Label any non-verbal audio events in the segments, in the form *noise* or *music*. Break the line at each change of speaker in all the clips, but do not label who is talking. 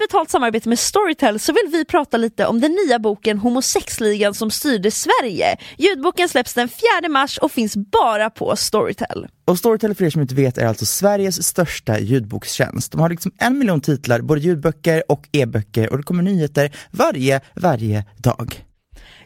betalt samarbete med Storytel så vill vi prata lite om den nya boken Homosexligan som styrde Sverige. Ljudboken släpps den 4 mars och finns bara på Storytel.
Och Storytel för er som inte vet är alltså Sveriges största ljudbokstjänst. De har liksom en miljon titlar, både ljudböcker och e-böcker och det kommer nyheter varje, varje dag.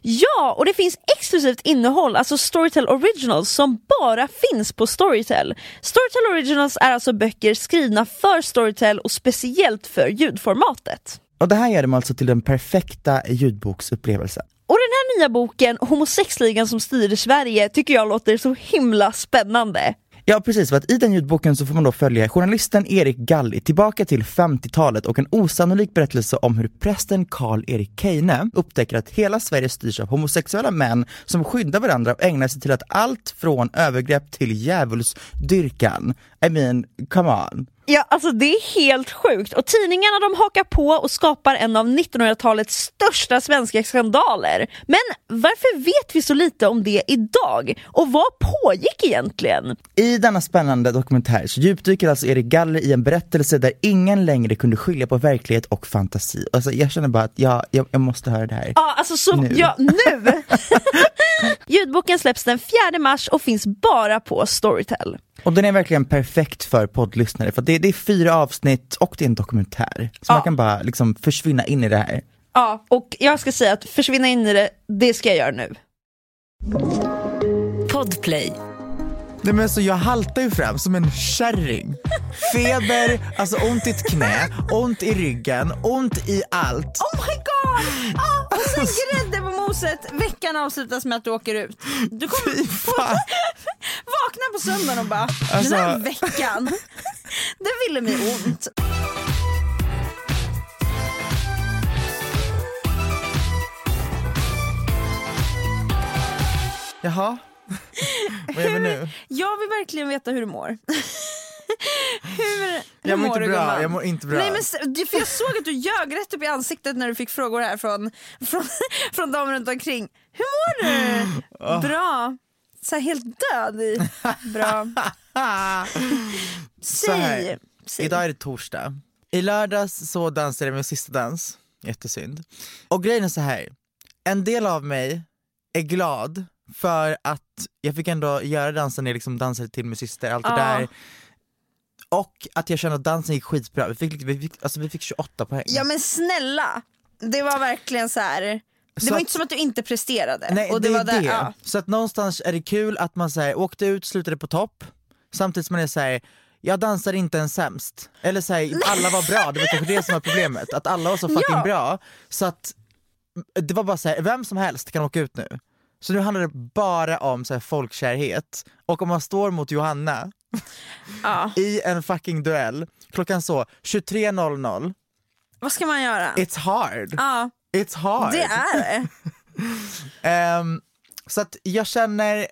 Ja, och det finns exklusivt innehåll, alltså Storytel Originals, som bara finns på Storytel. Storytel Originals är alltså böcker skrivna för Storytel och speciellt för ljudformatet.
Och det här gör dem alltså till den perfekta ljudboksupplevelsen.
Och den här nya boken, Homosexligan som styr Sverige, tycker jag låter så himla spännande.
Ja precis, för att i den ljudboken så får man då följa journalisten Erik Galli tillbaka till 50-talet och en osannolik berättelse om hur prästen Karl-Erik Keine upptäcker att hela Sverige styrs av homosexuella män som skyddar varandra och ägnar sig till att allt från övergrepp till djävulsdyrkan. I mean, come on.
Ja, alltså det är helt sjukt och tidningarna de hakar på och skapar en av 1900-talets största svenska skandaler. Men varför vet vi så lite om det idag? Och vad pågick egentligen?
I denna spännande dokumentär så djupdyker alltså Erik Galler i en berättelse där ingen längre kunde skilja på verklighet och fantasi. Alltså jag känner bara att jag, jag, jag måste höra det här.
Ja, alltså så,
Nu.
ja nu! *laughs* Ljudboken släpps den 4 mars och finns bara på Storytel.
Och den är verkligen perfekt för poddlyssnare för att det, det är fyra avsnitt och det är en dokumentär. Så man kan bara liksom försvinna in i det här.
Ja, och jag ska säga att försvinna in i det, det ska jag göra nu.
Podplay.
Nej men alltså jag haltar ju fram som en kärring. Feber, alltså ont i ett knä, ont i ryggen, ont i allt.
Oh my god! Ja, och sen grädde på moset, veckan avslutas med att du åker ut. Du kommer
Fy fan.
vakna på söndagen och bara
Alltså-
den här veckan,
*laughs*
den ville mig ont.
Jaha, vad gör vi nu?
Jag vill verkligen veta hur du mår. *laughs* Hur, hur
Jag mår
mår
inte
du,
bra,
gumman?
jag mår inte bra.
Nej, men, se- för jag såg att du ljög rätt upp i ansiktet när du fick frågor här från, från, *laughs* från dem runt omkring. Hur mår
*gasps* Ah.
du? Bra. Så här helt död i. Bra.
*laughs* Så här.
Säg. Säg.
Idag är det torsdag. I lördags så dansade jag min sista dans, jättesynd. Och grejen är så här. en del av mig är glad för att jag fick ändå göra dansen jag liksom dansade till min syster, allt det
Ah.
där. Och att jag kände att dansen gick skitbra, vi fick, vi fick, alltså vi fick 28 poäng.
Ja men snälla. Det var verkligen så här. Det
Så
var
att-
inte som att du inte presterade.
Nej,
och
det,
var
är
där-
det.
ja.
Så att någonstans är det kul att man så här, åkte ut, slutade på topp, samtidigt som man är så här. Jag dansar inte ens sämst. Eller så här, alla var bra, det var kanske det som var problemet. Att alla var så fucking
Ja.
bra. Så att det var bara så här, vem som helst kan åka ut nu. Så nu handlar det bara om så här, folkkärhet. Och om man står mot Johanna
Ja.
i en fucking duell, klockan så 23.00,
Vad ska man göra?
it's hard.
Ja,
It's hard.
det är det.
Ehm, så att jag känner,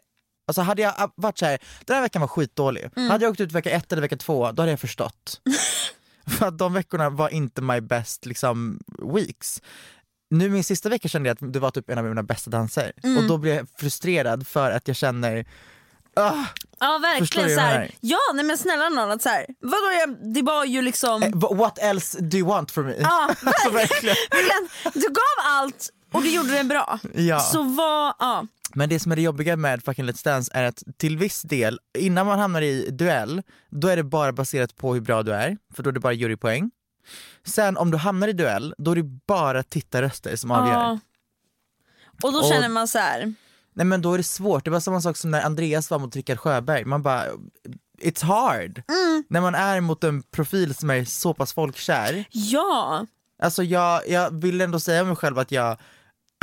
alltså hade jag ab- varit så här, den här veckan var skitdålig.
Mm.
Hade jag åkt ut vecka ett eller vecka två, då hade
*laughs*
jag förstått. För att de veckorna var inte my best liksom, weeks. Nu min sista vecka kände jag att det var typ en av mina bästa danser.
Mm.
Och då blev jag frustrerad för att jag känner, ah,
Ja
Förstår du
verkligen
vad
så
jag
här.
menar?
Ja nej men snälla någon att så här. Vadå jag, det var ju liksom.
eh, wh- what else do you want from me? *laughs*
Ja, *laughs*
alltså, verkligen.
verkligen. Du gav allt och du gjorde det bra.
Ja.
Så vad, ja.
Men det som är det jobbiga med fucking Let's Dance är att till viss del, innan man hamnar i duell, då är det bara baserat på hur bra du är, för då är det bara jurypoäng. Sen om du hamnar i duell, då är det bara tittarröster som avgör.
ja. Och då
Och-
känner man så här.
Nej men då är det svårt, det var samma sak som när Andreas var mot Rickard Sjöberg, man bara It's hard!
Mm.
När man är mot en profil som är så pass folkkär.
Ja.
Alltså jag, jag vill ändå säga mig själv att jag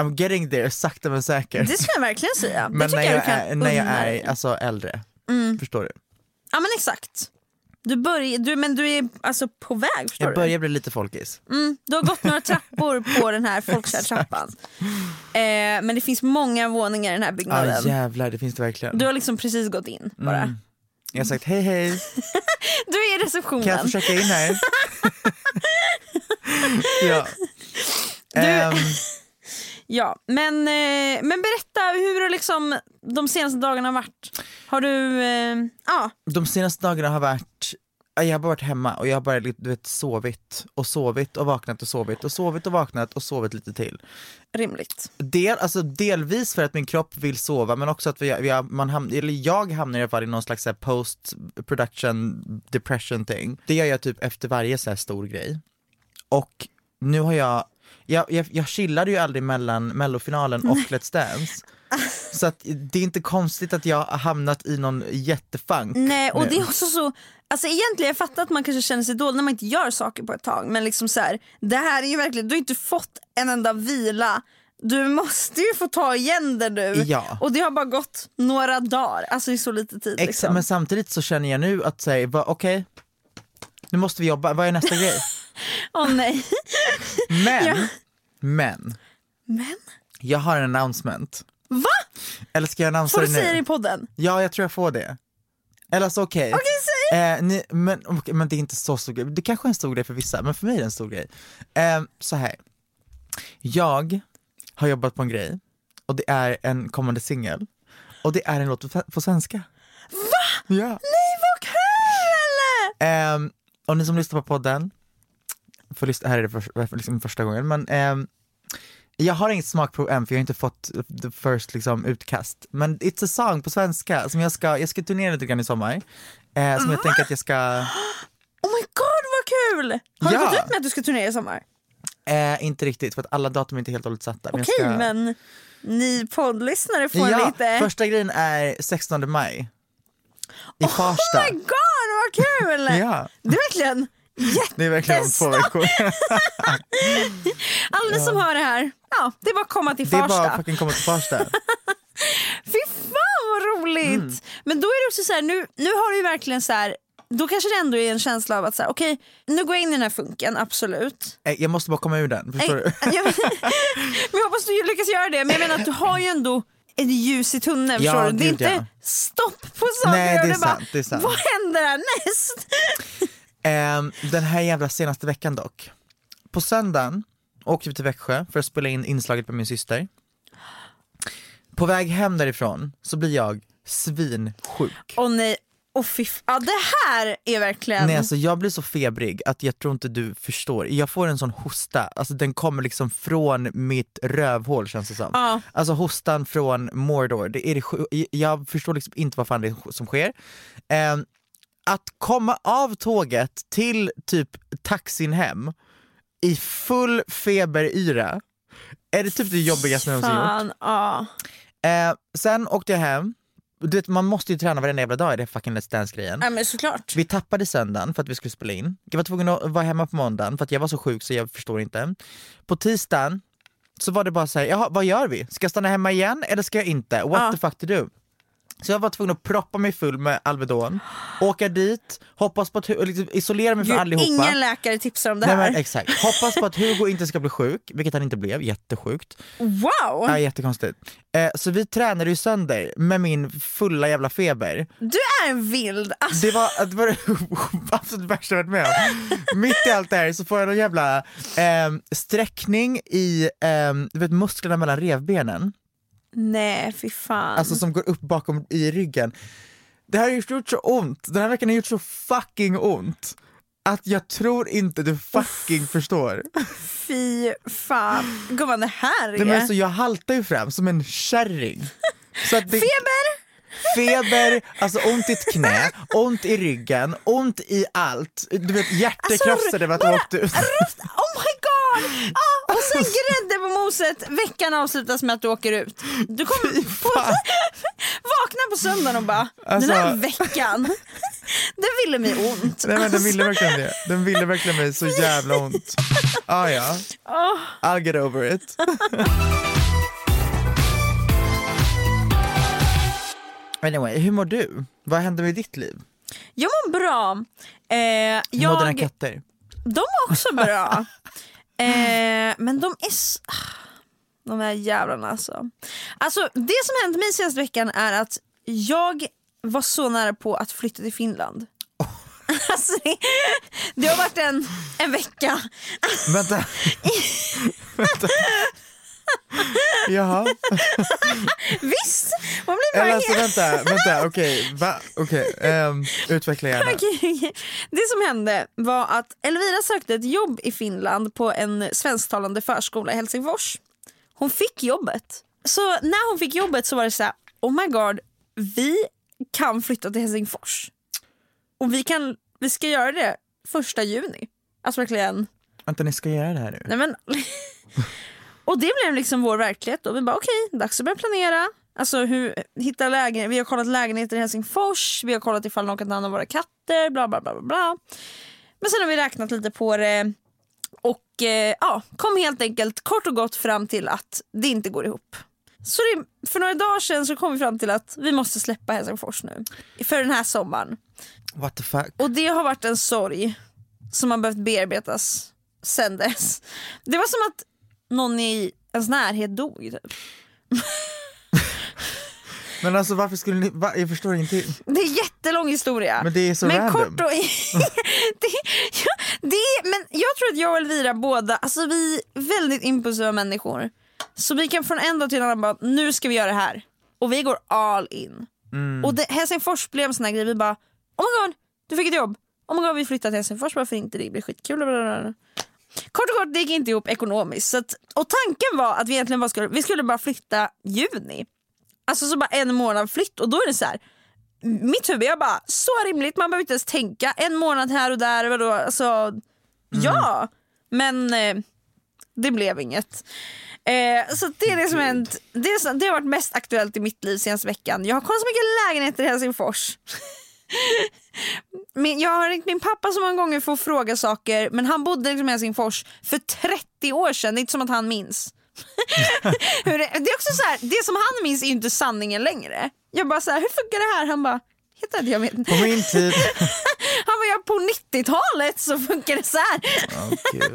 I'm getting there sakta men säkert.
Det ska jag verkligen säga. det
men
tycker
när jag,
du kan
är, när jag
unna dig. Mm.
är alltså, äldre. Förstår du?
Ja men exakt. Du börjar, du, men du är alltså på väg förstår
Jag
du?
börjar bli lite folkis.
Mm, du har gått
*laughs*
några trappor på den här folkkärrtrappan. Eh, men det finns många våningar i den här
Ah, Ja
byggnaden.
jävlar, det finns det verkligen. Mm.
Du har liksom precis gått in bara.
Jag har sagt hej hej,
Du är i
kan jag
receptionen.
få checka
*laughs*
in här? ja.
Du-
Ehm,
Ja, men, eh, men berätta hur har liksom de senaste dagarna varit? Har du... eh, Ja,
de senaste dagarna har varit jag har bara varit hemma och jag har bara du vet, sovit och sovit och vaknat och sovit och sovit och vaknat och sovit lite till.
Rimligt.
Del, alltså delvis för att min kropp vill sova men också att vi, vi har, man ham, eller jag hamnar i alla fall i någon slags så här post production depression thing. Det gör jag typ efter varje så här stor grej. Och nu har jag, jag, jag, jag chillade ju aldrig mellan mellofinalen och
*laughs*
Let's Dance. Så att det är inte konstigt att jag har hamnat i någon jättefunk.
Nej och
nu.
det är också så, alltså egentligen jag fattar att man kanske känner sig dålig när man inte gör saker på ett tag men liksom så här, det här är ju verkligen, du har inte fått en enda vila. Du måste ju få ta igen det nu.
Ja.
Och det har bara gått några dagar, alltså i så lite tid.
Exa-
liksom.
Men samtidigt så känner jag nu att säga, okej, nu måste vi jobba, vad är nästa grej?
Åh nej. *laughs*
Men,
Ja.
men,
Men,
jag har en announcement.
va?
Eller ska jag
Får
annonsera
du
det nu?
säga det i podden?
Ja, jag tror jag får det. Eller så okej. Eh, ni- men, okej, men det är inte så stor grej. Det kanske är en stor grej för vissa, men för mig är det en stor grej. Eh, så här. Jag har jobbat på en grej och det är en kommande singel och det är en låt på- på svenska. Va? Ja.
Nej vad kul!
Ehm, och ni som lyssnar på podden, för lyssna, här är det för, för, liksom första gången, men ehm, jag har inget smakprov än för jag har inte fått the first liksom, utkast. Men it's a song på svenska som jag ska, jag ska turnera lite grann i sommar. Eh,
Mm.
som jag tänker att jag ska,
Oh my god vad kul! Har
Ja.
du gått ut med att du ska turnera i sommar?
eh, inte riktigt för att alla datum är inte helt och hållet satta. men jag
Okej
ska-
men ni poddlyssnare får
ja,
lite... Oh
första grejen är 16 maj. I
Oh
Farsta.
my god vad kul!
*laughs* Ja.
Det är verkligen jätte...
Det är verkligen om två veckor.
Alla som hör det här, ja, det är bara att komma till
Det är
Farsta.
bara att fucking komma till Farsta.
Fy fan vad roligt!
Mm.
Men då är det också så här, nu, nu har du ju verkligen så här, då kanske det ändå är en känsla av att så här, okej, nu går jag in i den här funken, absolut.
Eh, jag måste bara komma ur den, förstår du?
*laughs* Jag, men jag hoppas du lyckas göra det, men jag menar att du har ju ändå ett ljus i tunneln,
Ja,
förstår du? Det är
gud,
inte
ja.
stopp på saker
Nej, det
och
är
du bara,
sant, det är sant.
vad händer härnäst?
Ehm, den här jävla senaste veckan dock. På söndagen åkte vi till Växjö för att spela in inslaget med min syster. På väg hem därifrån så blir jag svinsjuk.
Åh nej, åh fy f- ja, det här är verkligen...
Nej, alltså jag blir så febrig att jag tror inte du förstår. Jag får en sån hosta, alltså den kommer liksom från mitt rövhål känns det som.
Ja.
Alltså hostan från Mordor, det är det, sju- jag förstår liksom inte vad fan det är som sker. Ehm, att komma av tåget till typ taxin hem i full feberyra, är det typ det jobbigaste jag någonsin gjort.
Fan, ja.
Eh, sen åkte jag hem, du vet man måste ju träna varenda jävla dag i det fucking Let's Dance-grejen.
ja, men såklart.
Vi tappade söndagen för att vi skulle spela in. Jag var tvungen att vara hemma på måndagen för att jag var så sjuk så jag förstår inte. På tisdagen så var det bara så här, jaha vad gör vi? Ska jag stanna hemma igen eller ska jag inte? What
Ja.
the fuck to do? Så jag var tvungen att proppa mig full med Alvedon, åka dit, hoppas på att hu- liksom isolera mig från
Gud,
allihopa.
Ingen läkare tipsar om det
Nej,
här.
men, exakt. Hoppas på att Hugo inte ska bli sjuk, vilket han inte blev, jättesjukt.
wow!
Ja, jättekonstigt. Eh, så vi tränade ju sönder med min fulla jävla feber.
Du är vild! Alltså,
Det var, det *laughs* var det absolut värsta jag varit med om. Mitt i allt det här så får jag någon jävla ehm, sträckning i ehm, du vet, musklerna mellan revbenen,
nej fy fan.
alltså som går upp bakom i ryggen. Det här har gjort, gjort så ont, den här veckan har gjort så fucking ont att jag tror inte du fucking förstår.
Fy fan. Gumman det här är...
Nej, men alltså, jag haltar ju fram som en kärring. Så att det,
Feber!
feber, alltså ont i ett knä, ont i ryggen, ont i allt. Du vet hjärtekrafsade alltså, att jag
bara-
åkte ut.
Röst, oh my god! Ah, och sen grädde på moset, veckan avslutas med att du åker ut. Du kommer på, *laughs* vakna på söndagen och bara,
Alltså-
den här veckan, *laughs* den ville mig ont. Alltså,
Nej men den ville verkligen det. Den ville verkligen mig så jävla ont. Ah, ja,
Åh.
I'll get over it. *laughs* Anyway, hur mår du? Vad händer med ditt liv?
Jag mår bra. Eh,
Jag... Mår dina
jag,
katter?
de är också bra. eh, men de är... s- ah, De här jävlarna alltså. Alltså det som hänt mig senaste veckan är att jag var så nära på att flytta till Finland. Alltså, det, det har varit en, *laughs* en vecka.
Vänta. Vänta. Jaha.
Visst! Man blir bara
Eller alltså vänta, vänta, okej, va? Okej, ehm, utveckla gärna.
Okej. *laughs* Det som hände var att Elvira sökte ett jobb i Finland på en svensktalande förskola i Helsingfors. Hon fick jobbet. Så när hon fick jobbet så var det så här, oh my god, vi kan flytta till Helsingfors. Och vi, kan, vi ska göra det första juni. Alltså verkligen,
Vänta, ni ska göra det här nu?
nej men. *laughs* Och det blev liksom vår verklighet då. Vi bara okej, dags att börja planera. Alltså hur, hitta lägen, vi har kollat lägenheter i Helsingfors, vi har kollat ifall någon kan ta hand om våra katter, bla bla bla bla. bla. Men sen har vi räknat lite på det och eh, ja, kom helt enkelt kort och gott fram till att det inte går ihop. Så det, för några dagar sedan så kom vi fram till att vi måste släppa Helsingfors nu. För den här sommaren.
What the fuck?
Och det har varit en sorg som har behövt bearbetas sen dess. Det var som att någon i ens närhet dog. Typ.
Men alltså varför skulle ni, va? jag förstår ingenting.
Det är en jättelång historia.
Men det är så
men
random.
kort och... *laughs* det, ja, det, är- men jag tror att jag och Elvira båda, alltså vi är väldigt impulsiva människor. Så vi kan från en dag till en annan bara, nu ska vi göra det här. Och vi går all in.
Mm.
Och det, Helsingfors blev en sån här grej, vi bara, oh my god, du fick ett jobb. Oh my god, vi flyttar till Helsingfors, varför inte? Det blir skitkul. Blablabla. Kort och kort, det gick inte ihop ekonomiskt. Så att, och tanken var att vi egentligen bara skulle, vi skulle bara flytta juni. Alltså så bara en månad flytt och då är det så här. Mitt huvud, jag bara så rimligt, man behöver inte ens tänka. En månad här och där, vadå? Alltså, ja. Men eh, det blev inget. Eh, så det är det som hänt. Det, är, så- det har varit mest aktuellt i mitt liv senaste veckan. Jag har kollat så mycket lägenheter i Helsingfors. *laughs* Min, jag har ringt min pappa så många gånger för att fråga saker men han bodde liksom i Helsingfors för 30 år sedan, det är inte som att han minns. *laughs* hur det, det är också så här, det som han minns är ju inte sanningen längre. Jag bara så här, hur funkar det här? Han bara, hittar inte jag vet inte.
På min tid.
Han bara, ja, på 90-talet så funkar det så här.
Åh, gud.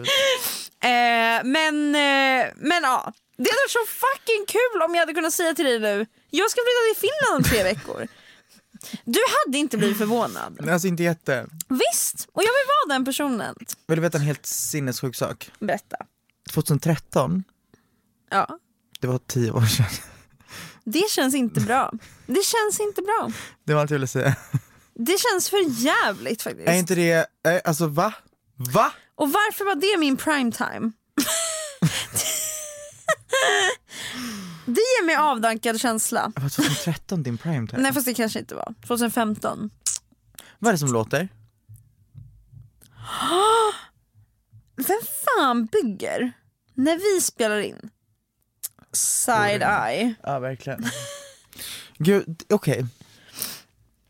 Eh, men, eh, men ja. Det hade varit så fucking kul om jag hade kunnat säga till dig nu, jag ska flytta till Finland om tre veckor. Du hade inte blivit förvånad.
Nej, Alltså inte jätte.
Visst, och jag vill vara den personen.
Vill du veta en helt sinnessjuk sak?
Berätta.
2013,
Ja.
det var tio år sedan.
Det känns inte bra. Det känns inte bra.
Det var allt jag ville säga.
Det känns för jävligt faktiskt.
Är inte det, eh, alltså va? Va?
Och varför var det min prime time? det ger mig avdankad känsla.
Var 2013 din prime time?
Nej fast det kanske inte var. 2015.
Vad är det som låter?
Vem fan bygger när vi spelar in? Side eye.
Ja verkligen. *laughs* Gud, okej.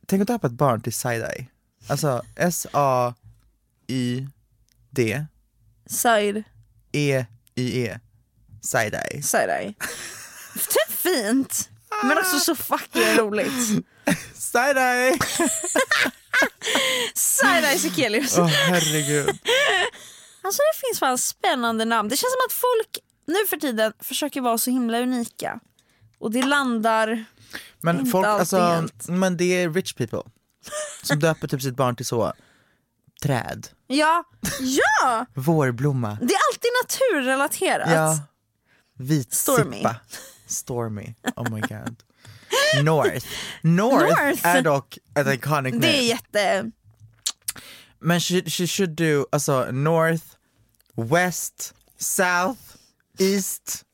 Tänk att döpa ett barn till side-eye. Alltså S-A-I-D-E-I-E.
Side,
E Side-eye.
side eye. Det är fint. Men också så fucking roligt.
Side-eye!
Side eye Sekelius.
Åh herregud.
Alltså det finns fan spännande namn. Det känns som att folk nu för tiden försöker vara så himla unika. Och det landar...
Men
Inte
folk,
alltid
alltså,
helt.
men det är rich people.
*laughs*
Som döper typ sitt barn till så, träd,
Ja, ja!
vårblomma,
Det är alltid naturrelaterat.
ja, vit
Stormy.
sippa, stormy, oh my god. North. North,
North.
är dock ett iconic
det är
name.
jätte...
Men she, she should do, alltså North, West, South, East.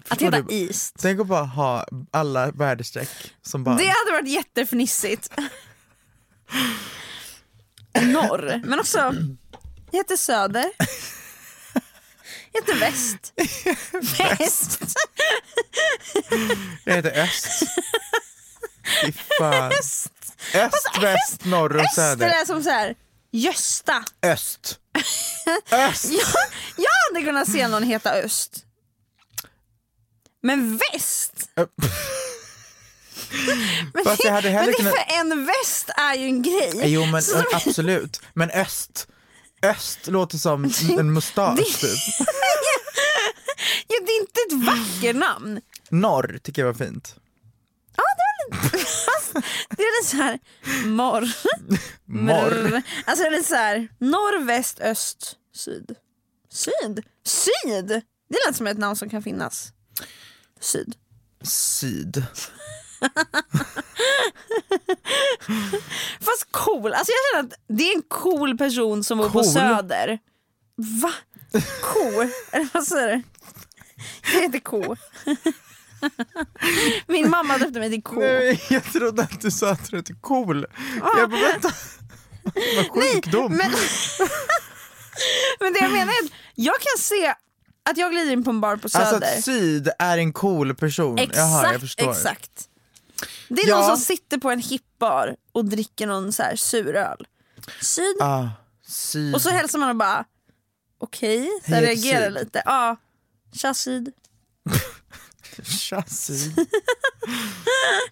Att
Förstår
heta
du?
East.
Tänk att bara ha alla väderstreck som barn.
Det hade varit jättefnissigt. Norr, men också... Jag heter Söder. Jag heter Väst. Väst.
Jag heter Öst. Fy fan. Öst, väst, norr och
Öster
söder.
är som så här... Gösta.
Öst. Öst! *laughs*
Jag, jag hade kunnat se någon heta Öst. Men väst!
Ö-
*laughs* Men,
Fast jag hade
det, men
hellre
det är
kunnat-
för en väst är ju en grej.
Jo men absolut, men öst. Öst låter som en mustasch typ.
Ja, det är inte ett vackert namn.
Norr tycker jag var fint.
Det är lite så här morr.
Morr.
Brr. Alltså det är lite så här norr, väst, öst, syd. Syd? Syd! Det lät som ett namn som kan finnas. Syd.
Syd.
Fast cool, alltså jag känner att det är en cool person som bor på
Cool?
söder. Va? Ko? Eller vad säger du? Jag heter Ko. Min mamma döpte mig till Ko.
Nej, jag trodde att du sa att du hette cool. Jag bara vänta. Vad sjukdom.
Men, men det jag menar är att jag kan se att jag glider in på en bar på
Alltså
söder.
att syd är en cool person.
exakt,
Jaha, jag förstår.
exakt. Det är
Ja.
någon som sitter på en hipbar och dricker någon så här suröl. Syd
Ah, syd.
Och så hälsar man och bara okej, så jag
Hej, typ
reagerar
Syd.
lite. Ja, tja Syd.
Tja, syd.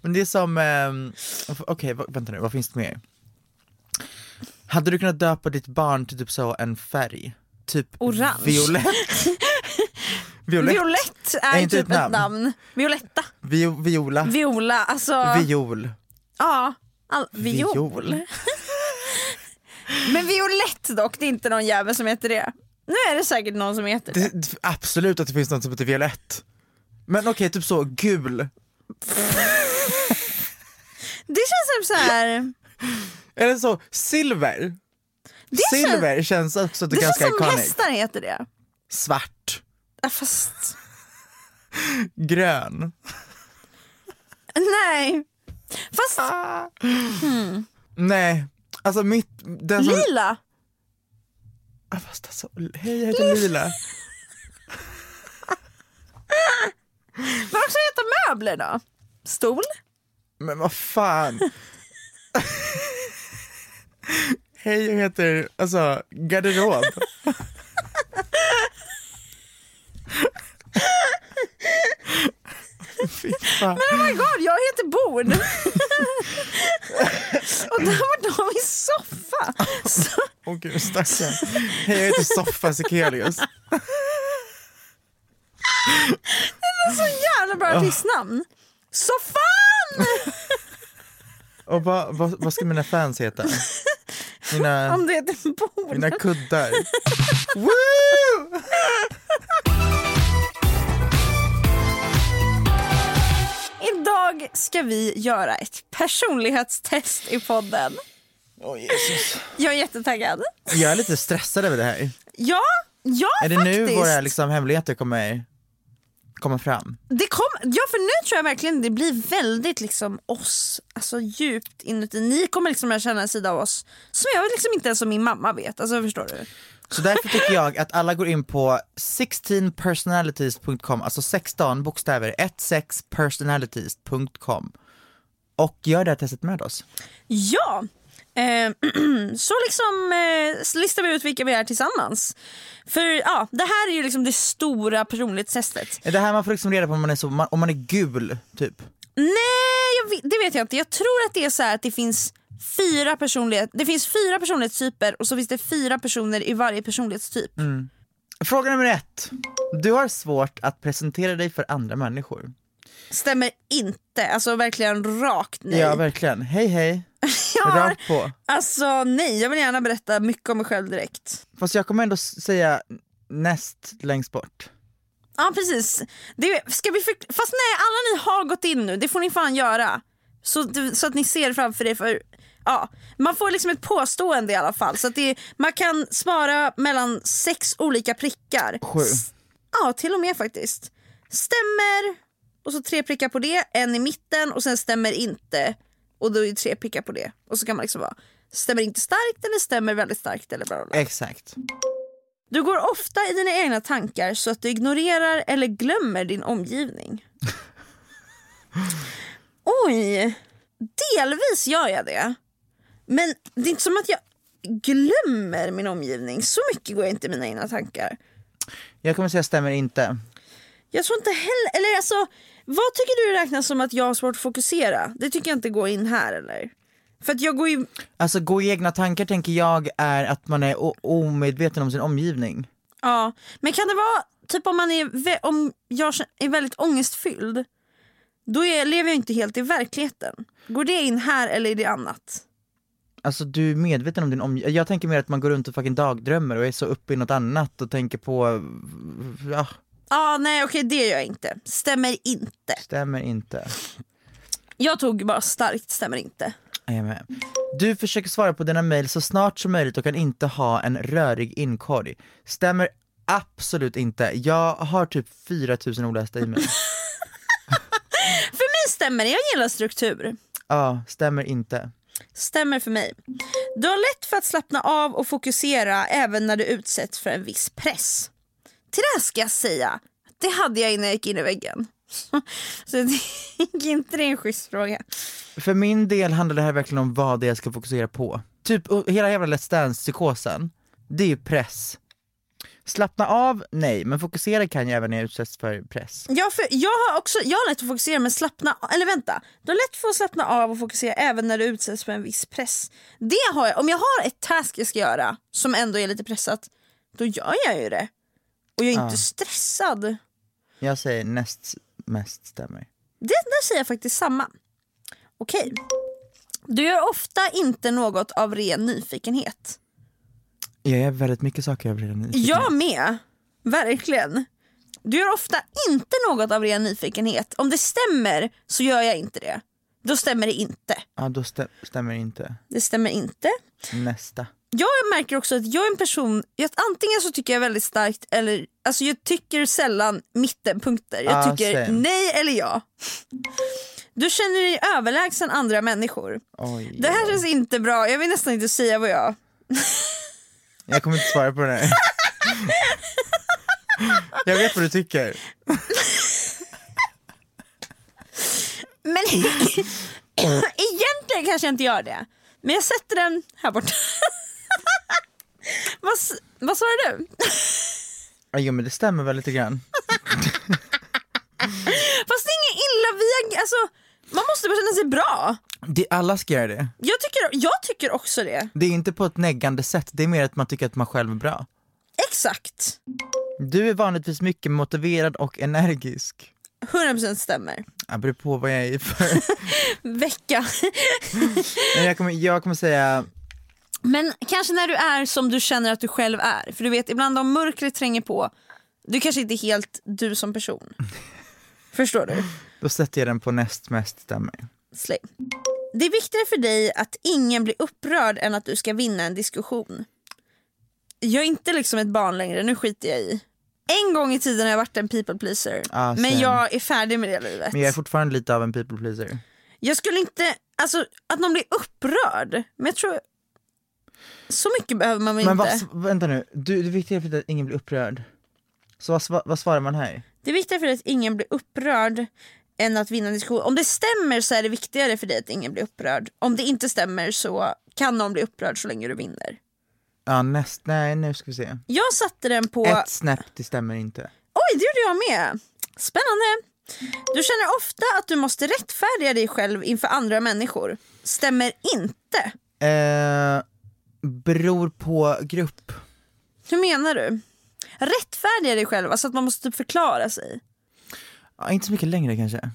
Men det är som, ehm, okej va- vänta nu, vad finns det mer? Hade du kunnat döpa ditt barn till typ så en färg? Typ
Orange. *laughs*
violett? violett?
Violett
Är
är
inte
typ ett
ett Ah.
namn. Violetta,
Vi- viola?
viola, alltså
Viol?
ja. All, viol.
Viol.
Men violett dock, det är inte någon jävel som heter det. Nu är det säkert någon som heter det.
Det, det- absolut att det finns något som heter violett. Men okej, typ så, gul.
Det känns som så här.
Eller så, silver.
Det känns,
silver känns också att det
det
är
känns
ganska
som
ikoniskt.
hästar heter det.
Svart,
Ja, Fast
grön.
nej. Fast
Ah. Mm. Nej, alltså mitt... Den som,
lila.
Ah, Fast alltså, hej jag heter Lila.
Vad också heter möbler då? Stol?
Men vad fan. hej jag heter, alltså, garderob. *laughs* Fy fan.
Oh my god, jag heter bord!
*laughs*
och där var de i soffa! Så,
Åh gud stackarn. Hej jag heter Soffa Sekelius.
så jävla bra artistnamn! Soffan!
Och vad, vad, vad ska mina fans heta? Mina,
Om det heter bord.
mina kuddar.
Woo! Idag ska vi göra ett personlighetstest i podden.
Åh Jesus.
Jag är jättetaggad.
Jag är lite stressad över det här.
Ja, ja
Är det
faktiskt.
nu våra liksom, hemligheter kommer komma fram?
Det kom, ja för nu tror jag verkligen det blir väldigt liksom oss, alltså djupt inuti. Ni kommer liksom att känna en sida av oss som jag liksom inte ens som min mamma vet. Alltså förstår du?
Så därför tycker jag att alla går in på 16personalities.com, alltså 16 bokstäver, 16personalities.com och gör det här testet med oss.
Ja, eh, *clears throat* så liksom eh, listar vi ut vilka vi är tillsammans. För ja, det här är ju liksom det stora personlighetstestet.
Är det här man får liksom reda på om man är, så, man, om man är gul, typ?
Nej, jag vet, det vet jag inte. Jag tror att det är så här att det finns fyra personlighet, det finns fyra personlighetstyper och så finns det fyra personer i varje personlighetstyp.
Mm. Fråga nummer ett. Du har svårt att presentera dig för andra människor.
Stämmer inte, alltså verkligen rakt nej.
Ja, verkligen. Hej
*laughs*
hej,
Jag har-
rakt på.
Alltså nej, jag vill gärna berätta mycket om mig själv direkt.
Fast jag kommer ändå s- säga näst längst bort.
Ja precis. Det, ska vi förkl- Fast nej, alla ni har gått in nu, det får ni fan göra. Så, så att ni ser framför er. För, ja. Man får liksom ett påstående i alla fall. Så att det, man kan svara mellan sex olika prickar.
Sju.
S- Ja, till och med faktiskt. Stämmer, och så tre prickar på det, en i mitten och sen stämmer inte. Och då är det tre prickar på det. Och så kan man liksom vara stämmer inte starkt eller stämmer väldigt starkt eller bla bla bla.
Exakt.
Du går ofta i dina egna tankar så att du ignorerar eller glömmer din omgivning. Oj, delvis gör jag det. Men det är inte som att jag glömmer min omgivning. Så mycket går jag inte i mina egna tankar.
Jag kommer säga stämmer inte.
Jag tror inte heller, eller alltså vad tycker du räknas som att jag har svårt att fokusera? Det tycker jag inte går in här eller? För att jag går ju,
Alltså gå i egna tankar tänker jag är att man är o- omedveten om sin omgivning.
ja. Men kan det vara, typ om man är, vä- om jag kän- är väldigt ångestfylld, då är, lever jag inte helt i verkligheten. Går det in här eller är det annat?
Alltså du är medveten om din omgivning. Jag tänker mer att man går runt och fucking dagdrömmer och är så uppe i något annat och tänker på, ja,
ah, nej okej det gör jag inte. Stämmer inte.
Stämmer inte.
Jag tog bara starkt stämmer inte.
Jajamän. Du försöker svara på dina mejl så snart som möjligt och kan inte ha en rörig inkorg. Stämmer absolut inte. Jag har typ 4000 olästa e-mail.
För mig stämmer det, jag gillar struktur.
Ja, stämmer inte.
Stämmer för mig. Du har lätt för att slappna av och fokusera även när du utsätts för en viss press. Till det här ska jag säga, det hade jag innan jag gick in i väggen. *laughs* Så det gick inte det är en schysst fråga.
För min del handlar det här verkligen om vad det är jag ska fokusera på. Typ och hela jävla Let's Dance-psykosen, det är ju press. Slappna av, nej, men fokusera kan jag även när jag utsätts för press.
Ja, för jag har också jag har lätt att fokusera men slappna, eller vänta. Du har lätt för att slappna av och fokusera även när du utsätts för en viss press. Det har jag, om jag har ett task jag ska göra som ändå är lite pressat, då gör jag ju det. Och jag är inte stressad.
Jag säger näst mest stämmer.
Det, där säger jag faktiskt samma. Okej. Du gör ofta inte något av ren nyfikenhet.
Jag gör väldigt mycket saker jag blir nyfiken
Jag med. Verkligen. Du gör ofta inte något av ren nyfikenhet. Om det stämmer så gör jag inte det. Då stämmer det inte.
Ja, då stä- stämmer inte.
Det stämmer inte.
Nästa.
Jag märker också att jag är en person, att antingen så tycker jag väldigt starkt eller alltså jag tycker sällan mittenpunkter. Jag
Ah,
tycker
same.
nej eller ja. Du känner dig överlägsen andra människor.
Oj.
Det här känns inte bra, jag vill nästan inte säga vad jag...
Jag kommer inte svara på
*laughs*
det här. jag vet vad du tycker. *laughs*
Men egentligen kanske jag inte gör det. Men jag sätter den här borta. *laughs* vad, s- vad sa du?
Ja, jo men det stämmer väl lite grann.
Fast det är inget illa, vi har- alltså, man måste bara känna sig bra.
Det, alla ska göra det.
Jag tycker, jag tycker också det.
Det är inte på ett neggande sätt, det är mer att man tycker att man själv är bra.
Exakt.
Du är vanligtvis mycket motiverad och energisk.
100% stämmer.
Jag beror på vad jag är
*laughs*
i för.
Vecka. *laughs*
Men jag, kommer, jag kommer säga,
Men kanske när du är som du känner att du själv är. För du vet, ibland om mörkret tränger på, du kanske inte är helt du som person. *laughs* Förstår du?
då sätter jag den på näst mest stämmer.
Slay. Det är viktigare för dig att ingen blir upprörd än att du ska vinna en diskussion. Jag är inte liksom ett barn längre, nu skiter jag i. En gång i tiden har jag varit en people pleaser,
Ah,
men
same.
jag är färdig med det livet.
Men jag är fortfarande lite av en people pleaser.
Jag skulle inte, alltså att någon blir upprörd, men jag tror så mycket behöver man väl
Men
inte.
vad, vänta nu, du, det viktiga är att ingen blir upprörd. Så vad, sva- vad svarar man här?
Det är viktigare för dig att ingen blir upprörd än att vinna en diskussion. Om det stämmer så är det viktigare för dig att ingen blir upprörd. Om det inte stämmer så kan någon bli upprörd så länge du vinner.
Ja näst, nej nu ska vi se.
Jag satte den på...
Ett snäpp, det stämmer inte.
Oj, det gjorde jag med! Spännande! Du känner ofta att du måste rättfärdiga dig själv inför andra människor. Stämmer inte.
Eh, beror på grupp.
Hur menar du? Rättfärdiga dig själv, alltså att man måste typ förklara sig.
Ja, inte så mycket längre kanske.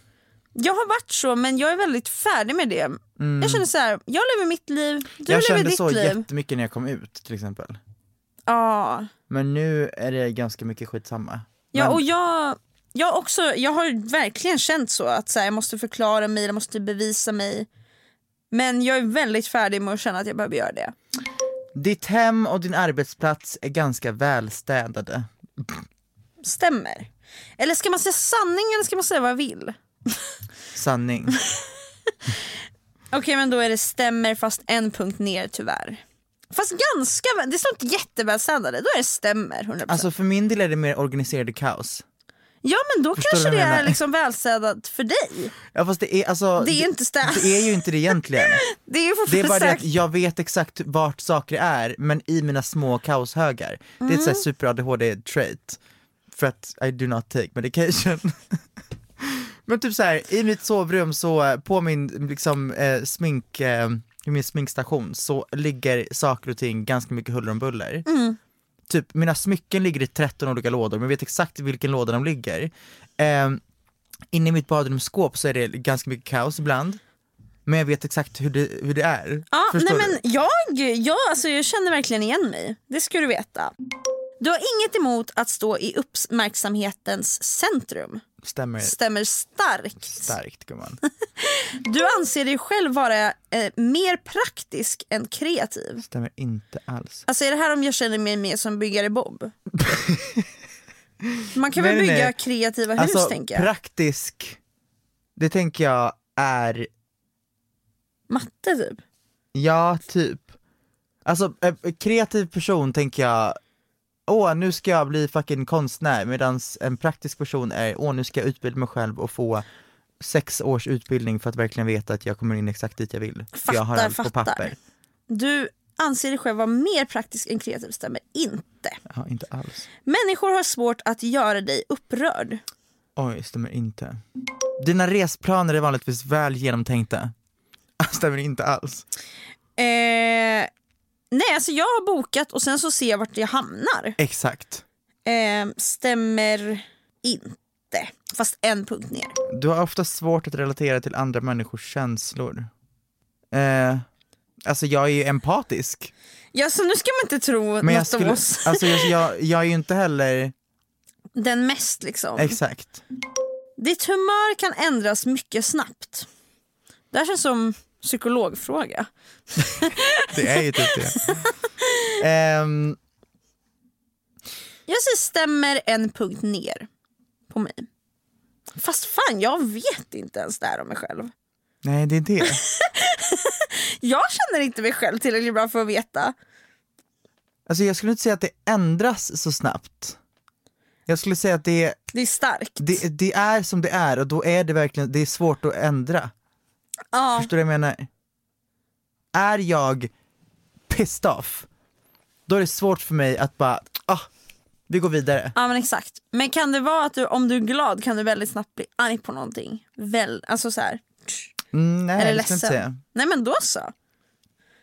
Jag har varit så, men jag är väldigt färdig med det. Jag känner så här, jag lever mitt liv, du
Mm. jag
lever
kände
ditt
så
liv.
jättemycket när jag kom ut till exempel.
Ja,
Men nu är det ganska mycket skitsamma.
ja
Men-
och jag, jag, också, jag har ju verkligen känt så att så här, jag måste förklara mig, jag måste bevisa mig. Men jag är väldigt färdig med att känna att jag behöver göra det.
Ditt hem och din arbetsplats är ganska välstädade.
stämmer. Eller ska man säga sanning eller ska man säga vad jag vill? *laughs*
Sanning.
Okej men då är det stämmer fast en punkt ner tyvärr. Fast ganska, väl- det står inte jättevälstädade, då är det stämmer 100%.
Alltså för min del är det mer organiserade kaos.
ja men då
du
kanske
vad
det
jag
är
menar?
liksom välstädat för dig.
Ja fast det är alltså,
Det är inte städat.
det är ju inte det egentligen.
*laughs* Det är ju
Det är
fortfarande
bara det att
säkert.
jag vet exakt vart saker är, men i mina små kaoshögar. Det är ett såhär
Mm.
super-ADHD-trait. För att I do not take medication. *laughs* men typ såhär, i mitt sovrum så, eh, på min liksom eh, smink, eh, i min sminkstation så ligger saker och ting ganska mycket huller om buller. Typ mina smycken ligger i 13 olika lådor, men jag vet exakt i vilken låda de ligger. Eh, inne i mitt badrumsskåp så är det ganska mycket kaos ibland. Men jag vet exakt hur det, hur det är.
Ja, nej,
Förstår du?
men jag, jag, alltså, jag känner verkligen igen mig, det ska du veta. Du har inget emot att stå i uppmärksamhetens centrum.
Stämmer
Stämmer starkt.
starkt gumman.
Du anser dig själv vara eh, mer praktisk än kreativ.
Stämmer inte alls.
Alltså är det här om jag känner mig mer som byggare
*laughs*
Bob? Man kan väl
Nej, nej,
bygga
nej.
kreativa hus
Alltså
tänker jag.
praktisk, det tänker jag är,
Matte typ.
ja typ. Alltså eh, kreativ person tänker jag, åh nu ska jag bli fucking konstnär, medan en praktisk person är, åh nu ska jag utbilda mig själv och få sex års utbildning för att verkligen veta att jag kommer in exakt dit jag vill. för jag har
Fattar,
allt på
fattar.
papper.
Du anser dig själv vara mer praktisk än kreativ, stämmer inte.
Ja, inte alls.
Människor har svårt att göra dig upprörd. Eh,
Oj, stämmer inte. Dina resplaner är vanligtvis väl genomtänkta. *laughs* Stämmer inte alls.
Eh, nej, alltså jag har bokat och sen så ser jag vart jag hamnar.
Exakt.
Eh, stämmer inte. Fast en punkt ner.
Du har ofta svårt att relatera till andra människors känslor. Eh, alltså jag är ju empatisk.
Ja, så nu ska man inte tro
Men jag,
något
skulle,
av oss.
alltså jag, jag, jag är ju inte heller,
*laughs* Den mest liksom.
exakt.
Ditt humör kan ändras mycket snabbt. Det här känns som psykologfråga.
Det är ju typ det. Ehm,
Jag säger stämmer en punkt ner på mig. Fast fan, jag vet inte ens det här om mig själv.
nej det är det.
Jag känner inte mig själv tillräckligt bra för att veta.
Alltså jag skulle inte säga att det ändras så snabbt. Jag skulle säga att det,
Det är starkt.
det, det är som det är och då är det verkligen, det är svårt att ändra.
ja.
Förstår du vad jag menar? Är jag pissed off, då är det svårt för mig att bara, ah, vi går vidare.
ja, men exakt. Men kan det vara att du, om du är glad kan du väldigt snabbt bli arg på någonting? Väl, alltså så här.
Mm, nej,
Eller
det ska jag inte säga.
ledsen. Nej men då så.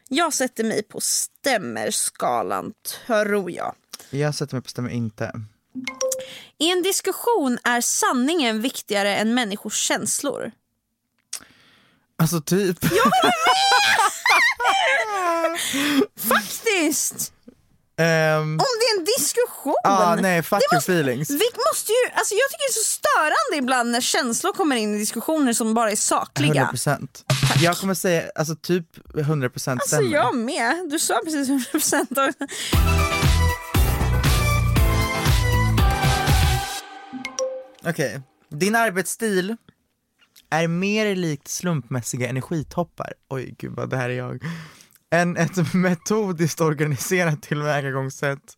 Jag sätter mig på stämmerskalan tror jag.
Jag sätter mig på stämmer inte.
I en diskussion är sanningen viktigare än människors känslor.
Alltså typ.
Faktiskt!
Ehm,
Om det är en diskussion!
ah, nej, fuck
Det
your
måste-
feelings.
Vi måste ju, alltså jag tycker det är så störande ibland när känslor kommer in i diskussioner som bara är sakliga.
100%. Jag kommer säga, alltså typ 100% procent
Alltså
stämmer.
jag med, du sa precis 100% av...
Okej. Din arbetsstil är mer likt slumpmässiga energitoppar. Oj gud vad det här är jag. Än ett metodiskt organiserat tillvägagångssätt.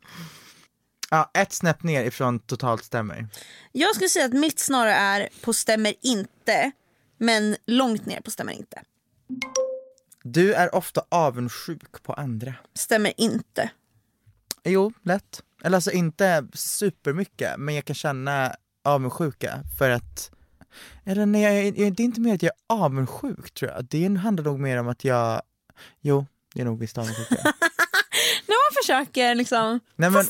Ja, ett snäpp ner ifrån totalt stämmer.
*laughs* Jag skulle säga att mitt snarare är på stämmer inte, men långt ner på stämmer inte.
Du är ofta avundsjuk på andra.
Stämmer inte.
Jo, lätt. Eller alltså inte supermycket, men jag kan känna avundsjuka för att... Eller nej, jag, jag, det är inte mer att jag är avundsjuk tror jag. Det handlar nog mer om att jag... Jo, det är nog visst avundsjuka.
När man försöker liksom,
nej, men,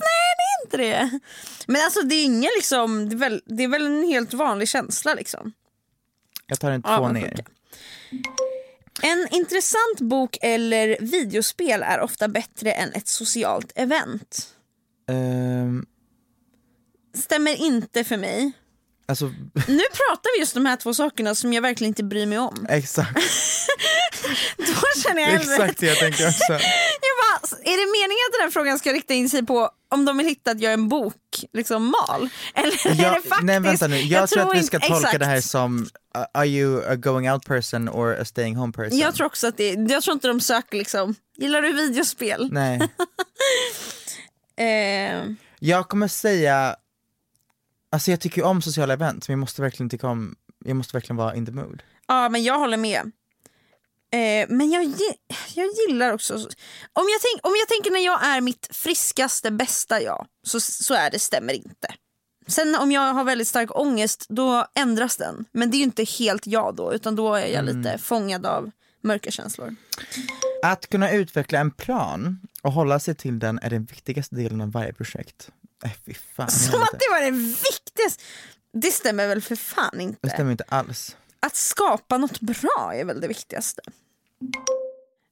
inte det. Men alltså det är ingen liksom, det är väl, det är väl en helt vanlig känsla liksom.
jag tar en två
Avundsjuka.
ner.
En intressant bok eller videospel är ofta bättre än ett socialt event.
Ehm,
Stämmer inte för mig.
alltså, *laughs*
Nu pratar vi just de här två sakerna som jag verkligen inte bryr mig om. *laughs*
exakt,
Då känner jag hellre...
exakt det jag
*laughs*
tänker också.
Jag bara, är det meningen att den här frågan ska rikta in sig på om de vill hitta att jag är en bok, liksom mal? Eller är
Jag,
det faktiskt...
nej vänta nu, jag, tror att vi ska
inte-
tolka
exakt.
det här som uh, Are you a going out person or a staying home person?
Jag tror också att det Jag tror inte de söker liksom, gillar du videospel? *laughs*
Nej.
Eh,
Jag kommer säga, alltså jag tycker ju om sociala event men jag måste verkligen tycka om, jag måste verkligen vara in the mood.
ja men jag håller med. Eh, men jag, gi- jag gillar också... Om jag, tänk, om jag tänker när jag är mitt friskaste, bästa jag, så, så är det stämmer inte. Sen om jag har väldigt stark ångest, då ändras den. Men det är ju inte helt jag då, utan då är
Mm.
jag lite fångad av mörka känslor.
Att kunna utveckla en plan och hålla sig till den är den viktigaste delen av varje projekt. Äh, fy fan. jag
Som
vet
att
inte.
det var det viktigaste! Det stämmer väl för fan
Det
inte?
stämmer inte alls.
Att skapa något bra är väl det viktigaste.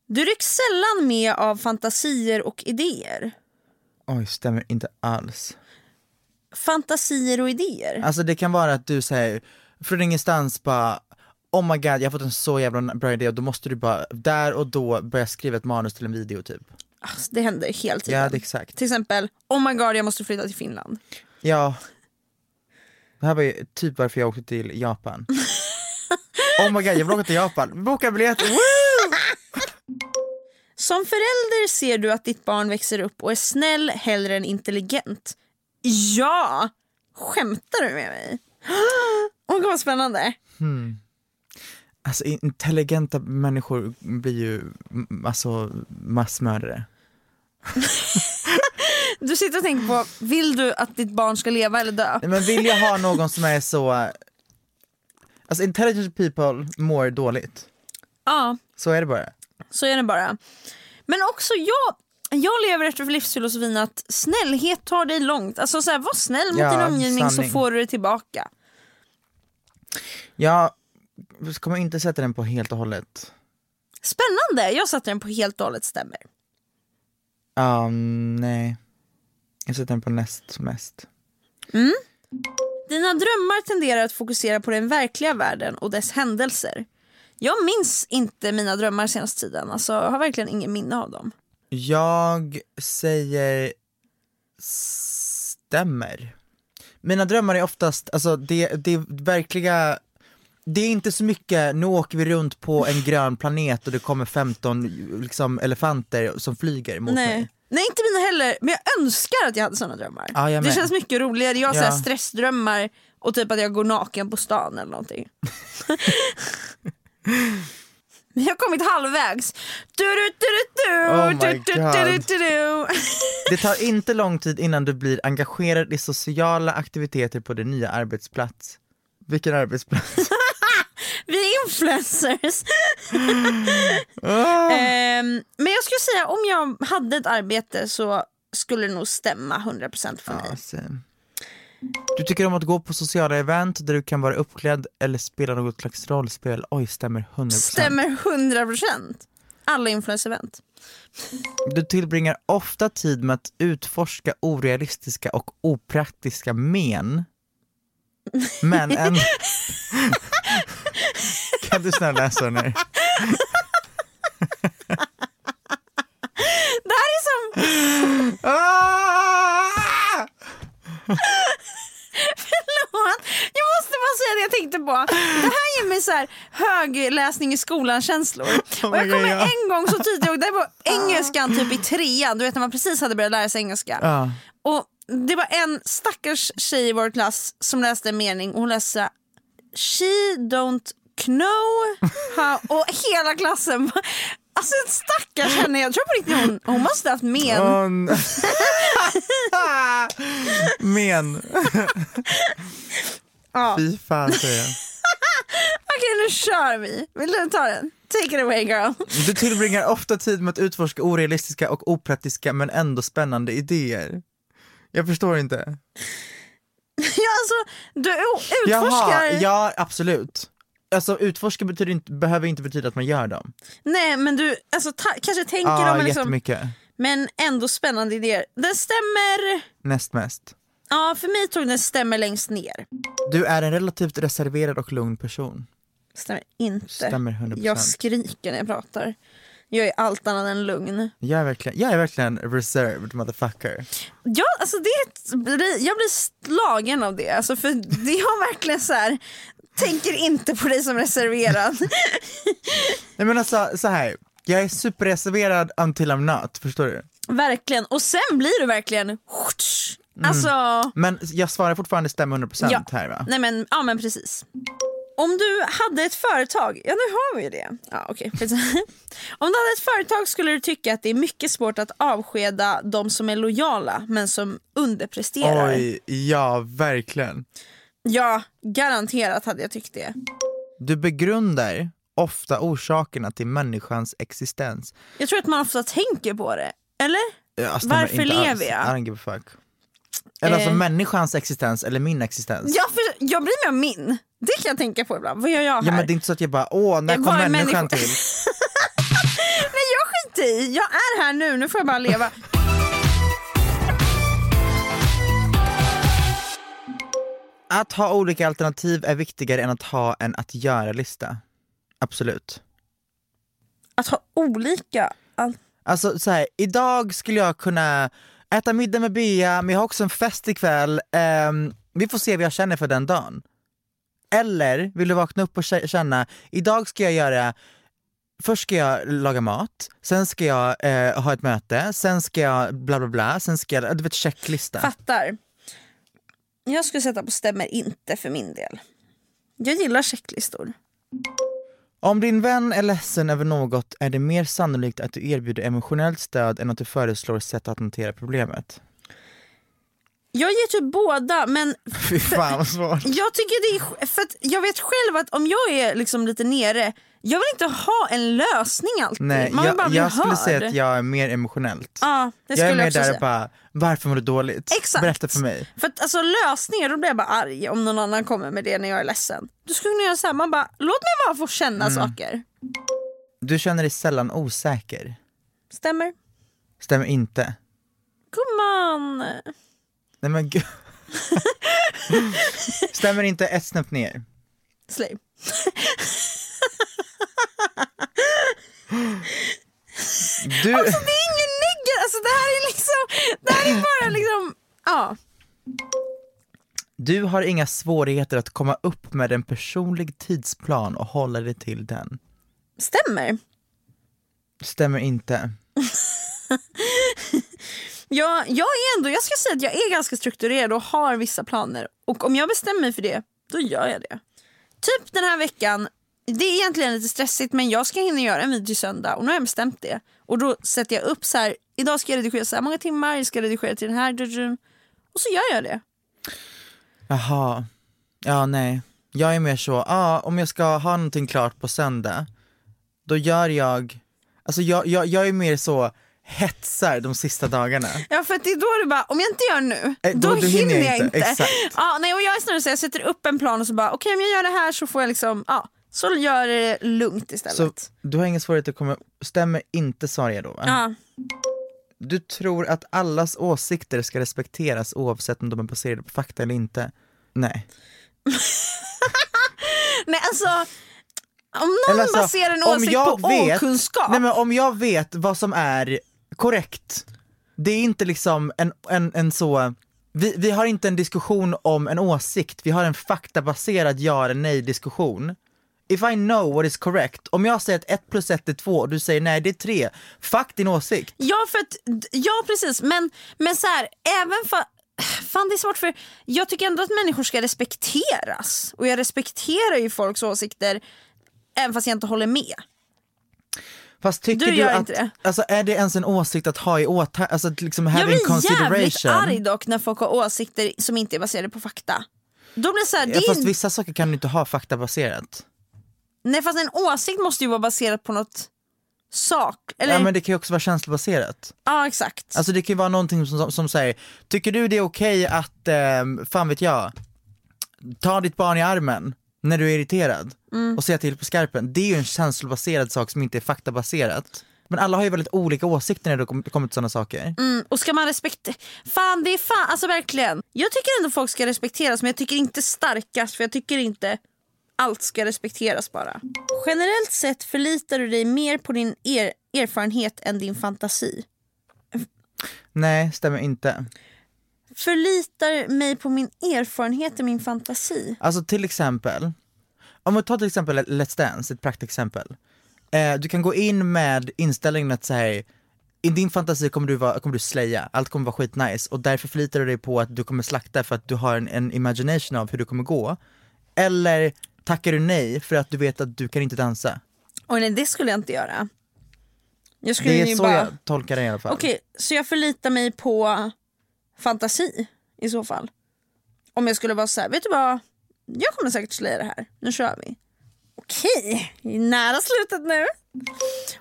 Du rycks sällan med av fantasier och idéer.
Oj, stämmer inte alls.
Fantasier och idéer.
Alltså det kan vara att du säger från ingenstans bara Oh my god, jag har fått en så jävla bra idé och då måste du bara där och då börja skriva ett manus till en video typ.
Alltså, det händer hela tiden.
Ja, det är exakt.
Till exempel, oh my god jag måste flytta till Finland.
Ja. Det här var ju typ varför jag åkte till Japan. oh my god, jag vill åka till Japan. Boka biljett! Woo!
Som förälder ser du att ditt barn växer upp och är snäll hellre än intelligent. Ja! Skämtar du med mig? *gasps* Åh gud vad spännande.
Alltså intelligenta människor blir ju mm, alltså massmördare.
Du sitter och tänker på, vill du att ditt barn ska leva eller dö?
Nej, Men vill jag ha någon som är så... Alltså intelligent people mår dåligt.
Ja,
Så är det bara.
så är det bara. Men också jag, jag lever efter livsfilosofin att snällhet tar dig långt. Alltså så här, var snäll mot
Ja,
din omgivning
sanning.
så får du det tillbaka.
Jag kommer inte sätta den på helt och hållet.
Spännande, jag satte den på helt och hållet stämmer.
Ja, Um, nej. Jag sätter den på näst mest.
Dina drömmar tenderar att fokusera på den verkliga världen och dess händelser. Jag minns inte mina drömmar senaste tiden, alltså jag har verkligen ingen minne av dem.
Jag säger stämmer. Mina drömmar är oftast, alltså det, det är verkliga, det är inte så mycket, nu åker vi runt på en grön planet och det kommer 15 liksom, elefanter som flyger mot mig.
Nej. Nej inte mina heller, men jag önskar att jag hade såna drömmar.
Ja, jag
det
med.
känns mycket roligare, jag har så här
Ja.
stressdrömmar och typ att jag går naken på stan eller någonting.
*laughs*
Men jag har kommit halvvägs. Du, du, du, du, du,
Oh my
du, du, du,
God.
du, du. *laughs*
Det tar inte lång tid innan du blir engagerad i sociala aktiviteter på din nya arbetsplats. Vilken arbetsplats?
Vi är influencers. Ehm, men jag skulle säga om jag hade ett arbete så skulle det nog stämma 100% för mig.
Alltså. Du tycker om att gå på sociala event där du kan vara uppklädd eller spela något slags rollspel. Oj, stämmer 100%.
Stämmer 100%. Alla influencer-event.
Du tillbringar ofta tid med att utforska orealistiska och opraktiska men. Men
*laughs*
en... kan du snälla läsa den här?
Det här är *laughs* som
Ah!
låt. Jag måste bara säga det jag tänkte på. Det här ger mig så här högläsning i skolan-känslor. och jag
my God,
kommer
ja.
en gång så tydligt ihåg, det var
*laughs*
engelskan typ i trean, du vet när man precis hade börjat lära sig engelska.
Ja.
Och det var en stackars tjej i vår klass som läste en mening och hon läste She don't know
*laughs*
how... Och hela klassen bara- Alltså stackars henne, jag tror på riktigt hon, hon måste haft men.
Åh, n- men.
*laughs* Ja.
Fy fan säger jag.
*laughs* Okej nu kör vi, vill du ta den? Take it away girl. *laughs*
Du tillbringar ofta tid med att utforska orealistiska och opraktiska men ändå spännande idéer. Jag förstår inte.
Ja, alltså, du o- utforskar...
Jaha, ja absolut. Alltså utforska betyder inte, behöver inte betyda att man gör dem.
Nej men du alltså, ta- kanske tänker
Ja,
om men liksom,
Ah, jättemycket.
men ändå spännande idéer. Den stämmer,
Näst mest.
ja för mig tog den stämmer längst ner.
Du är en relativt reserverad och lugn person.
Stämmer inte.
Stämmer 100%.
Jag skriker när jag pratar. Jag är allt annat än lugn.
Jag är verkligen, jag är verkligen reserved motherfucker.
Jag, alltså det, är ett- blir- jag blir slagen av det. Alltså för det har verkligen så här. Tänker inte på dig som reserverad.
Nej men alltså så här. jag är superreserverad until I'm not, förstår du?
*laughs* verkligen. Och sen blir du verkligen... Alltså...
Men jag svarar fortfarande stämmer 100%
Ja.
här va?
Nej men, ja men precis. Om du hade ett företag, ja nu har vi ju det. Ja, okej. *laughs* Om du hade ett företag skulle du tycka att det är mycket svårt att avskeda de som är lojala men som underpresterar.
Oj, ja verkligen.
Ja, garanterat hade jag tyckt det.
Du begrundar ofta orsakerna till människans existens. Eh,
Jag tror att man ofta tänker på det. Eller?
Jag stämmer
Varför
inte
lever
alls.
jag?
I don't give a fuck. Eller alltså
Eh.
människans existens eller min existens.
Jag, för, jag blir med om min. Det kan jag tänka på ibland. Vad gör jag här?
Ja men det är inte så att jag bara åh när
Eh,
kom
var är
människan
människa-
till?
Nej jag skiter i. Jag är här nu, nu får jag bara leva.
Att ha olika alternativ är viktigare än att ha en att göra-lista. Absolut.
Att ha olika... All...
Alltså så här, idag skulle jag kunna äta middag med Bea, men jag har också en fest ikväll. Ehm, vi får se vad jag känner för den dagen. Eller vill du vakna upp och kä- känna, idag ska jag göra Först ska jag laga mat, sen ska jag eh, ha ett möte, sen ska jag bla bla bla, sen ska jag, du vet checklista.
Fattar. Jag skulle sätta på stämmer inte för min del. Jag gillar checklistor.
Om din vän är ledsen över något är det mer sannolikt att du erbjuder emotionellt stöd än att du föreslår sätt att hantera problemet.
Jag ger typ båda men
*laughs* Fy fan vad svårt.
jag tycker det är... sk- För att jag vet själv att om jag är liksom lite nere, jag vill inte ha en lösning alltid.
Nej,
Man vill bara
jag,
bli
jag skulle
hörd.
säga att jag är mer emotionellt.
Ja, det
jag
skulle
är mer
jag också
där
säga.
och bara, varför mår du dåligt?
Exakt.
Berätta för mig.
För att alltså lösningar, då blir jag bara arg om någon annan kommer med det när jag är ledsen. Du skulle kunna göra såhär, man bara låt mig bara få känna saker.
Du känner dig sällan osäker.
Stämmer?
Stämmer inte.
Gumman!
Nej
*laughs*
men gud. Stämmer inte ett snäpp ner.
Slay.
Du,
Det är ingen negger, alltså det här är liksom, det här är bara liksom, ja.
du har inga svårigheter att komma upp med en personlig tidsplan och hålla dig till den.
Stämmer.
Stämmer inte.
Jag, jag är ändå, jag ska säga att jag är ganska strukturerad och har vissa planer. Och om jag bestämmer mig för det, då gör jag det. Typ den här veckan, det är egentligen lite stressigt men jag ska hinna göra en video till söndag och nu har jag bestämt det. Och då sätter jag upp så här, idag ska jag redigera så här många timmar, jag ska redigera till den här. dudun. Och så gör jag det.
Jaha. Ja, nej. Jag är mer så, ah, om jag ska ha någonting klart på söndag, då gör jag... Alltså jag, jag, jag är mer så hetsar de sista dagarna.
Ja för att det är då du bara, om jag inte gör nu,
Eh,
då, hinner jag inte.
Exakt.
Ja, nej, och jag är snarare så jag sätter upp en plan och så bara, okej om jag gör det här så får jag liksom, ja, så gör jag det lugnt istället.
Så du har ingen svårighet att komma... Stämmer inte sa jag då va?
Ja.
Du tror att allas åsikter ska respekteras oavsett om de är baserade på fakta eller inte? Nej.
Nej alltså, om någon
Eller alltså,
baserar en åsikt på okunskap.
Nej men om jag vet vad som är korrekt, det är inte liksom en, en, en så, vi, vi har inte en diskussion om en åsikt, vi har en faktabaserad ja eller nej diskussion. If I know what is correct, om jag säger att 1 plus 1 är 2 och du säger nej det är 3, fuck din åsikt.
Ja, för att, ja precis, men, men så här, även fa, Fan det är svårt för jag tycker ändå att människor ska respekteras och jag respekterar ju folks åsikter även fast jag inte håller med.
Fast tycker
Du
du,
gör
att,
inte det.
alltså är det ens en åsikt att ha i åtanke, alltså att liksom
Jag
have in
blir jävligt
consideration?
arg dock när folk har åsikter som inte är baserade på fakta. Då blir det så här, det
Ja,
är
fast vissa saker kan du inte ha faktabaserat.
Nej fast en åsikt måste ju vara baserad på något sak. Eller,
Ja
ja,
men det kan ju också vara känslobaserat.
exakt.
Alltså det kan ju vara någonting som, som, som säger, tycker du det är okej att, eh, fan vet jag, ta ditt barn i armen när du är irriterad och säga till på skarpen. Det är ju en känslobaserad sak som inte är faktabaserat. Men alla har ju väldigt olika åsikter när det kom- kommer till sådana saker.
Mm, och ska man respektera... Fan det är fan, alltså verkligen. Jag tycker ändå folk ska respekteras men jag tycker inte starkast för jag tycker inte allt ska respekteras bara. Generellt sett förlitar du dig mer på din er- erfarenhet än din fantasi.
Nej, stämmer inte.
Förlitar mig på min erfarenhet än min fantasi.
Alltså till exempel, om vi tar till exempel Let's Dance, ett praktexempel. Eh, du kan gå in med inställningen att säga i din fantasi kommer du, vara, kommer du slaya, allt kommer vara skitnice och därför förlitar du dig på att du kommer slakta för att du har en, en imagination av hur det kommer gå. Eller tackar du nej för att du vet att du kan inte dansa.
Och nej det skulle jag inte göra. Jag skulle
Det är
ju
så
bara...
jag tolkar det i alla fall.
Okej, så jag förlitar mig på fantasi i så fall. Om jag skulle vara så här, vet du vad? Jag kommer säkert slöja det här. Nu kör vi. Okej, vi är nära slutet nu.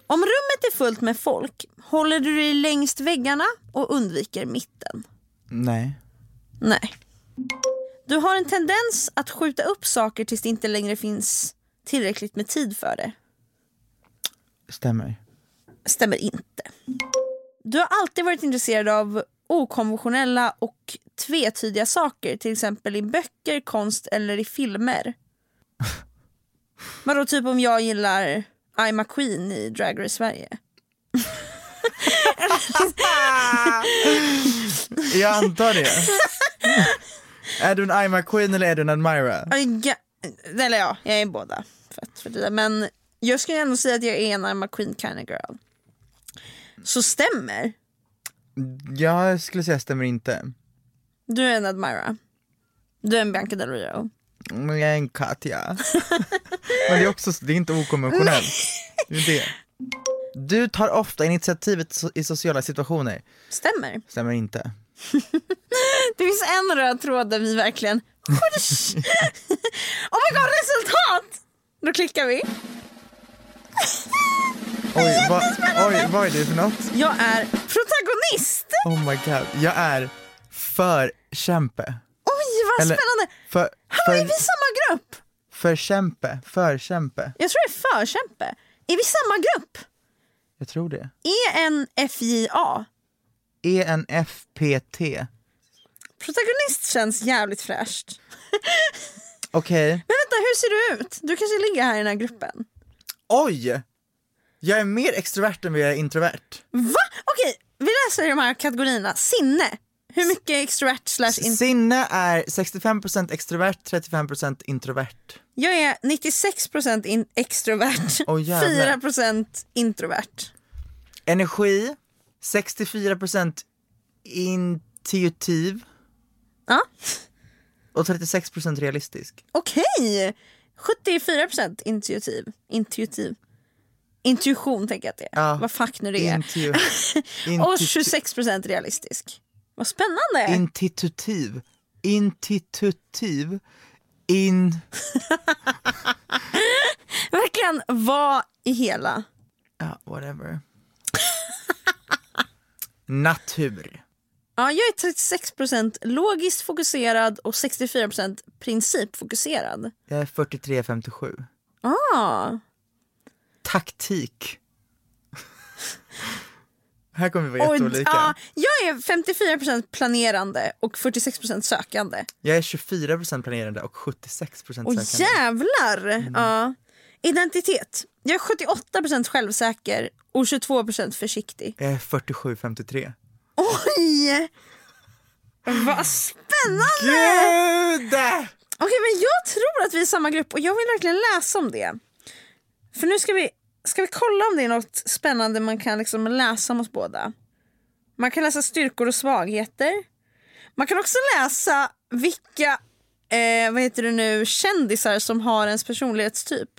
Om rummet är fullt med folk, håller du dig längst väggarna och undviker mitten?
Nej.
Nej. Du har en tendens att skjuta upp saker tills det inte längre finns tillräckligt med tid för det.
Stämmer.
stämmer inte. Du har alltid varit intresserad av okonventionella och tvetydiga saker, till exempel i böcker, konst eller i filmer. Vadå, typ om jag gillar I'm McQueen i Drag Race Sverige?
Jag antar det. är du en I'm Queen eller är du en Admira?
Aj, ga- Eller ja, jag är båda. För att fördriva. Men jag skulle ändå säga att jag är en I'm a Queen kind of girl. Så stämmer.
Jag skulle säga stämmer inte.
Du är en Admira. Du är en Bianca Del Rio.
Men jag är en Katja. Men det är också, det är inte okonventionellt. Det är det. Du tar ofta initiativet so- i sociala situationer.
Stämmer.
Stämmer inte.
Det finns en röd tråd där vi verkligen... *laughs* Skjuts! oh my god, resultat! Då klickar vi.
Oj, vad, oj, vad är det för något?
Jag är protagonist!
Oh my god, jag är för kämpe.
Oj, vad
Eller-
spännande!
För,
Hallå, är
för,
vi samma grupp?
för kämpe, för kämpe.
Jag tror det är förkämpe. Är vi samma grupp? E
Jag tror det. E
ENFJA.
ENFPT.
Protagonist känns jävligt fräscht.
Okej.
Men vänta, hur ser du ut? Du kanske ligger här i den här gruppen?
Oj! Jag är mer extrovert än vad jag är introvert.
Va? Okej, vi läser i de här kategorierna. Sinne. Hur mycket extrovert slash in...
Sinne är 65% extrovert, 35% introvert.
Jag är 96% in- extrovert,
Åh, jävlar.
4% introvert.
Energi, 64% intuitiv
Ja,
och 36% realistisk.
okej! 74% intuitiv. Intuitiv. Intuition tänker jag att det är.
Ja.
Vad fuck nu det är.
Intu-
*laughs* Och
intu-
26% realistisk. Vad spännande!
Intitutiv. Intitutiv. In...
Verkligen vad i hela.
Ja, whatever. Natur.
Ja, jag är 36% logiskt fokuserad och 64% principfokuserad.
Jag är 43,57.
Ah,
Taktik. Här kommer vi vara
och,
jätteolika.
ja, jag är 54% planerande och 46% sökande.
Jag är 24% planerande och 76%
Och
sökande. Mm.
jävlar! Ja. Identitet. Jag är 78% självsäker och 22% försiktig.
Jag är 47,53.
Oj! Vad spännande!
Gud!
Okej, men jag tror att vi är samma grupp och jag vill verkligen läsa om det. För nu ska vi, ska vi kolla om det är något spännande man kan liksom läsa om oss båda. Man kan läsa styrkor och svagheter. Man kan också läsa vilka eh, vad heter det nu, kändisar som har ens personlighetstyp.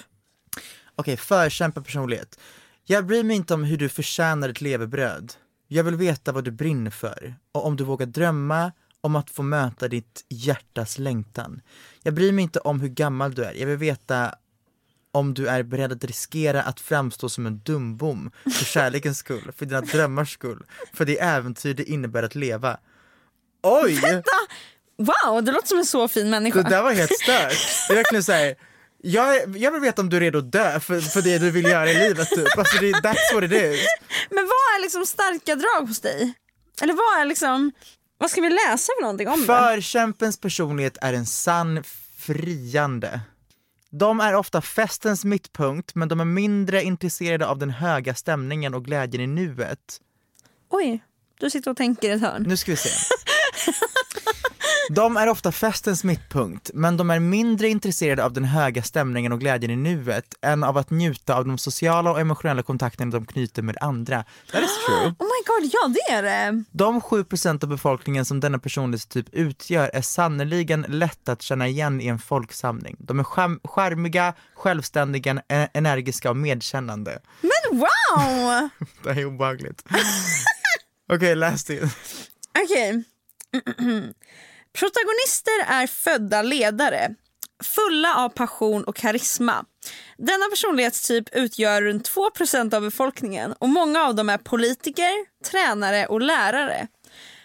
Okej, förkämpa personlighet. Jag bryr mig inte om hur du förtjänar ditt levebröd. Jag vill veta vad du brinner för och om du vågar drömma om att få möta ditt hjärtas längtan. Jag bryr mig inte om hur gammal du är. Jag vill veta om du är beredd att riskera att framstå som en dumbom för kärlekens skull, för dina drömmars skull, för det äventyr det innebär att leva. Oj!
Wow, det låter som en så fin människa.
Det där var helt stört. Det är verkligen så här, jag, jag vill veta om du är redo att dö för, för det du vill göra i livet typ. Alltså det, that's what it is.
Men vad är liksom starka drag hos dig? Eller vad är liksom, vad ska vi läsa för någonting om det?
Förkämpens personlighet är en sann friande. De är ofta festens mittpunkt men de är mindre intresserade av den höga stämningen och glädjen i nuet.
Oj, du sitter och tänker i ett hörn.
Nu ska vi se. De är ofta festens mittpunkt, men de är mindre intresserade av den höga stämningen och glädjen i nuet än av att njuta av de sociala och emotionella kontakterna de knyter med andra. That is true.
Oh my god, ja det är det.
De 7% av befolkningen som denna personlighetstyp typ utgör är sannerligen lätt att känna igen i en folksamling. De är skärm- skärmiga, självständiga, e- energiska och medkännande.
Men wow!
Det här är obehagligt. *laughs* Okej, läs det.
Okej. Protagonister är födda ledare, fulla av passion och karisma. Denna personlighetstyp utgör runt 2 av befolkningen och många av dem är politiker, tränare och lärare.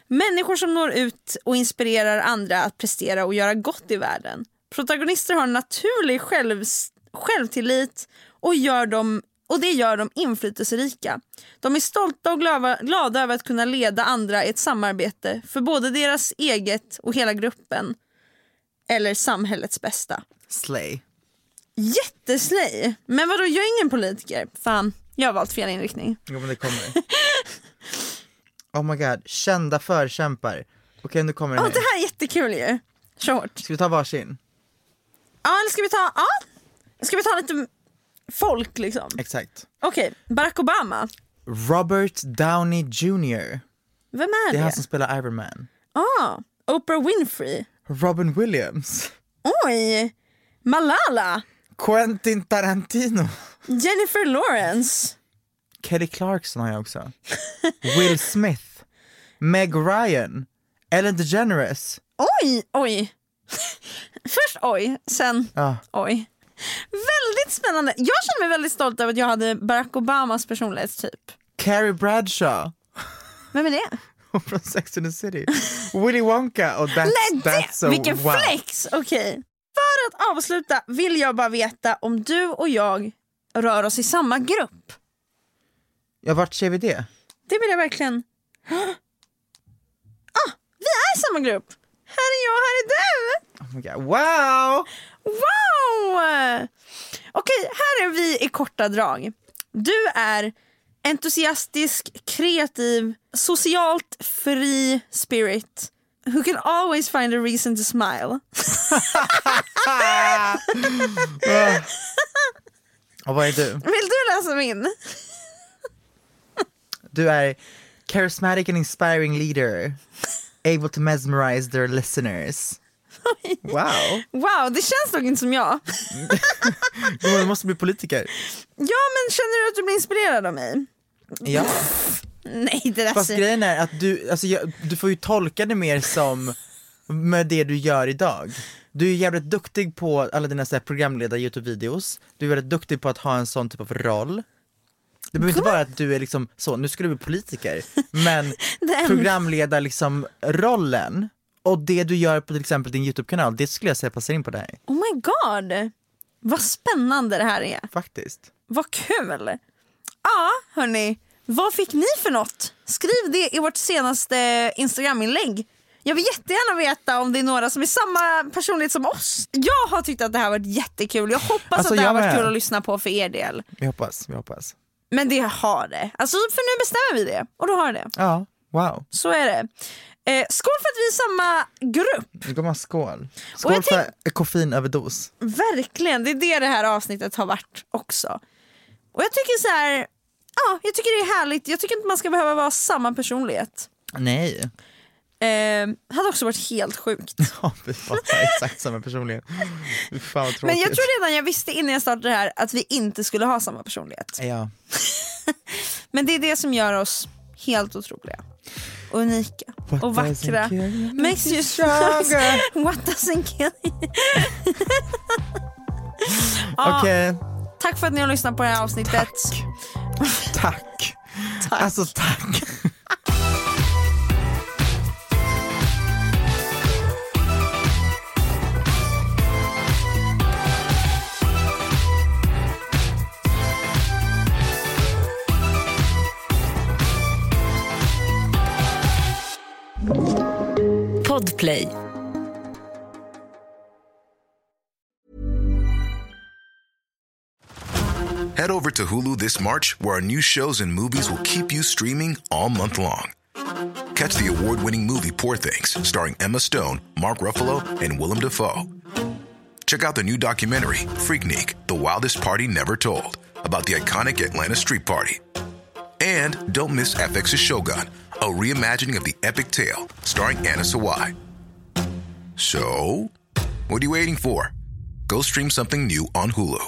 Människor som når ut och inspirerar andra att prestera och göra gott i världen. Protagonister har en naturlig själv, självtillit och gör dem och det gör dem inflytelserika. De är stolta och glada, glada över att kunna leda andra i ett samarbete för både deras eget och hela gruppen eller samhällets bästa.
Slay.
Jätteslay! Men vadå, jag är ingen politiker. Fan, jag har valt fel inriktning.
Jo men det kommer. oh my god, kända förkämpar. Okej nu kommer den
Åh,
här.
det här är jättekul ju. Kör hårt.
Ska vi ta varsin?
Ja, eller ska vi ta, ja. Ska vi ta lite folk liksom?
Exakt.
Okej, Barack Obama.
Robert Downey Jr.
Vem är det?
Det är han som spelar Iron Man.
Ah, Oprah Winfrey.
Robin Williams.
Oj! Malala.
Quentin Tarantino.
Jennifer Lawrence.
Kelly Clarkson har jag
*laughs*
också. Will Smith. Meg Ryan. Ellen DeGeneres.
Oj, oj. *laughs* Först oj, sen
Ja.
oj. Väldigt spännande. Jag känner mig väldigt stolt över att jag hade Barack Obamas personlighetstyp.
Carrie Bradshaw.
Vem är det?
Hon från Sex and
*laughs*
the City. Willy Wonka och That's,
Nej,
that's so
det! Vilken
wow.
flex! Okej. För att avsluta vill jag bara veta om du och jag rör oss i samma grupp.
Ja, vart ser vi det?
Det vill jag verkligen. *gasps* Ah, vi är i samma grupp! Här är jag, här är du!
Oh my God. Wow!
Wow! Okej, här är vi i korta drag. Du är entusiastisk, kreativ, socialt fri spirit who can always find a reason to smile.
*laughs* Och vad är du?
Vill du läsa min?
Du är charismatic and inspiring leader. Able to mesmerize their listeners. Wow!
Wow, det känns dock inte som jag.
Oh, Du måste bli politiker.
Ja, men känner du att du blir inspirerad av mig?
Ja.
Nej, det där
Fast
ser...
grejen är att du, alltså, jag, du får ju tolka det mer som med det du gör idag. Du är jävligt duktig på alla dina så här, programledare Youtube-videos, du är väldigt duktig på att ha en sån typ av roll. Det behöver inte vara att du är liksom så, nu ska du bli politiker, men
Den.
programledar liksom rollen och det du gör på till exempel din Youtube-kanal, det skulle jag säga passar in på dig.
Oh my god! Vad spännande det här är.
Faktiskt.
Vad kul! Ja, hörni. Vad fick ni för något? Skriv det i vårt senaste Instagram-inlägg. Jag vill jättegärna veta om det är några som är samma personlighet som oss. Jag har tyckt att det här har varit jättekul. Jag hoppas
Alltså,
att det har
jag
varit
med.
kul att lyssna på för er del.
Vi hoppas, vi hoppas.
Men det har det. Alltså, för nu bestämmer vi det. Och då har det.
Ja, wow.
Så är det. Eh, skål för att vi är samma grupp!
Nu går man skål. Skål
jag
för koffeinöverdos.
Verkligen, det är det det här avsnittet har varit också. Och jag tycker så här, ja, jag tycker det är härligt. Jag tycker inte man ska behöva vara samma personlighet.
Nej.
Eh, hade också varit helt
*laughs*
sjukt.
Ja, vi fattar exakt samma personlighet. Fy Fan vad tråkigt.
Men jag tror redan jag visste innan jag startade det här att vi inte skulle ha samma personlighet.
Ja.
Men det är det som gör oss helt otroliga. Och unika
What
och
doesn't
vackra.
kill you
Makes you stronger. *laughs* What doesn't kill
*laughs*
you. ja,
Okej,
Tack för att ni har lyssnat på det här avsnittet.
tack. Alltså tack.
Podplay.
Head over to Hulu this March, where our new shows and movies will keep you streaming all month long. Catch the award winning movie Poor Things, starring Emma Stone, Mark Ruffalo, and Willem Dafoe. Check out the new documentary, Freaknik The Wildest Party Never Told, about the iconic Atlanta Street Party. And don't miss FX's Shogun, a reimagining of the epic tale, starring Anna Sawai. So, what are you waiting for? Go stream something new on Hulu.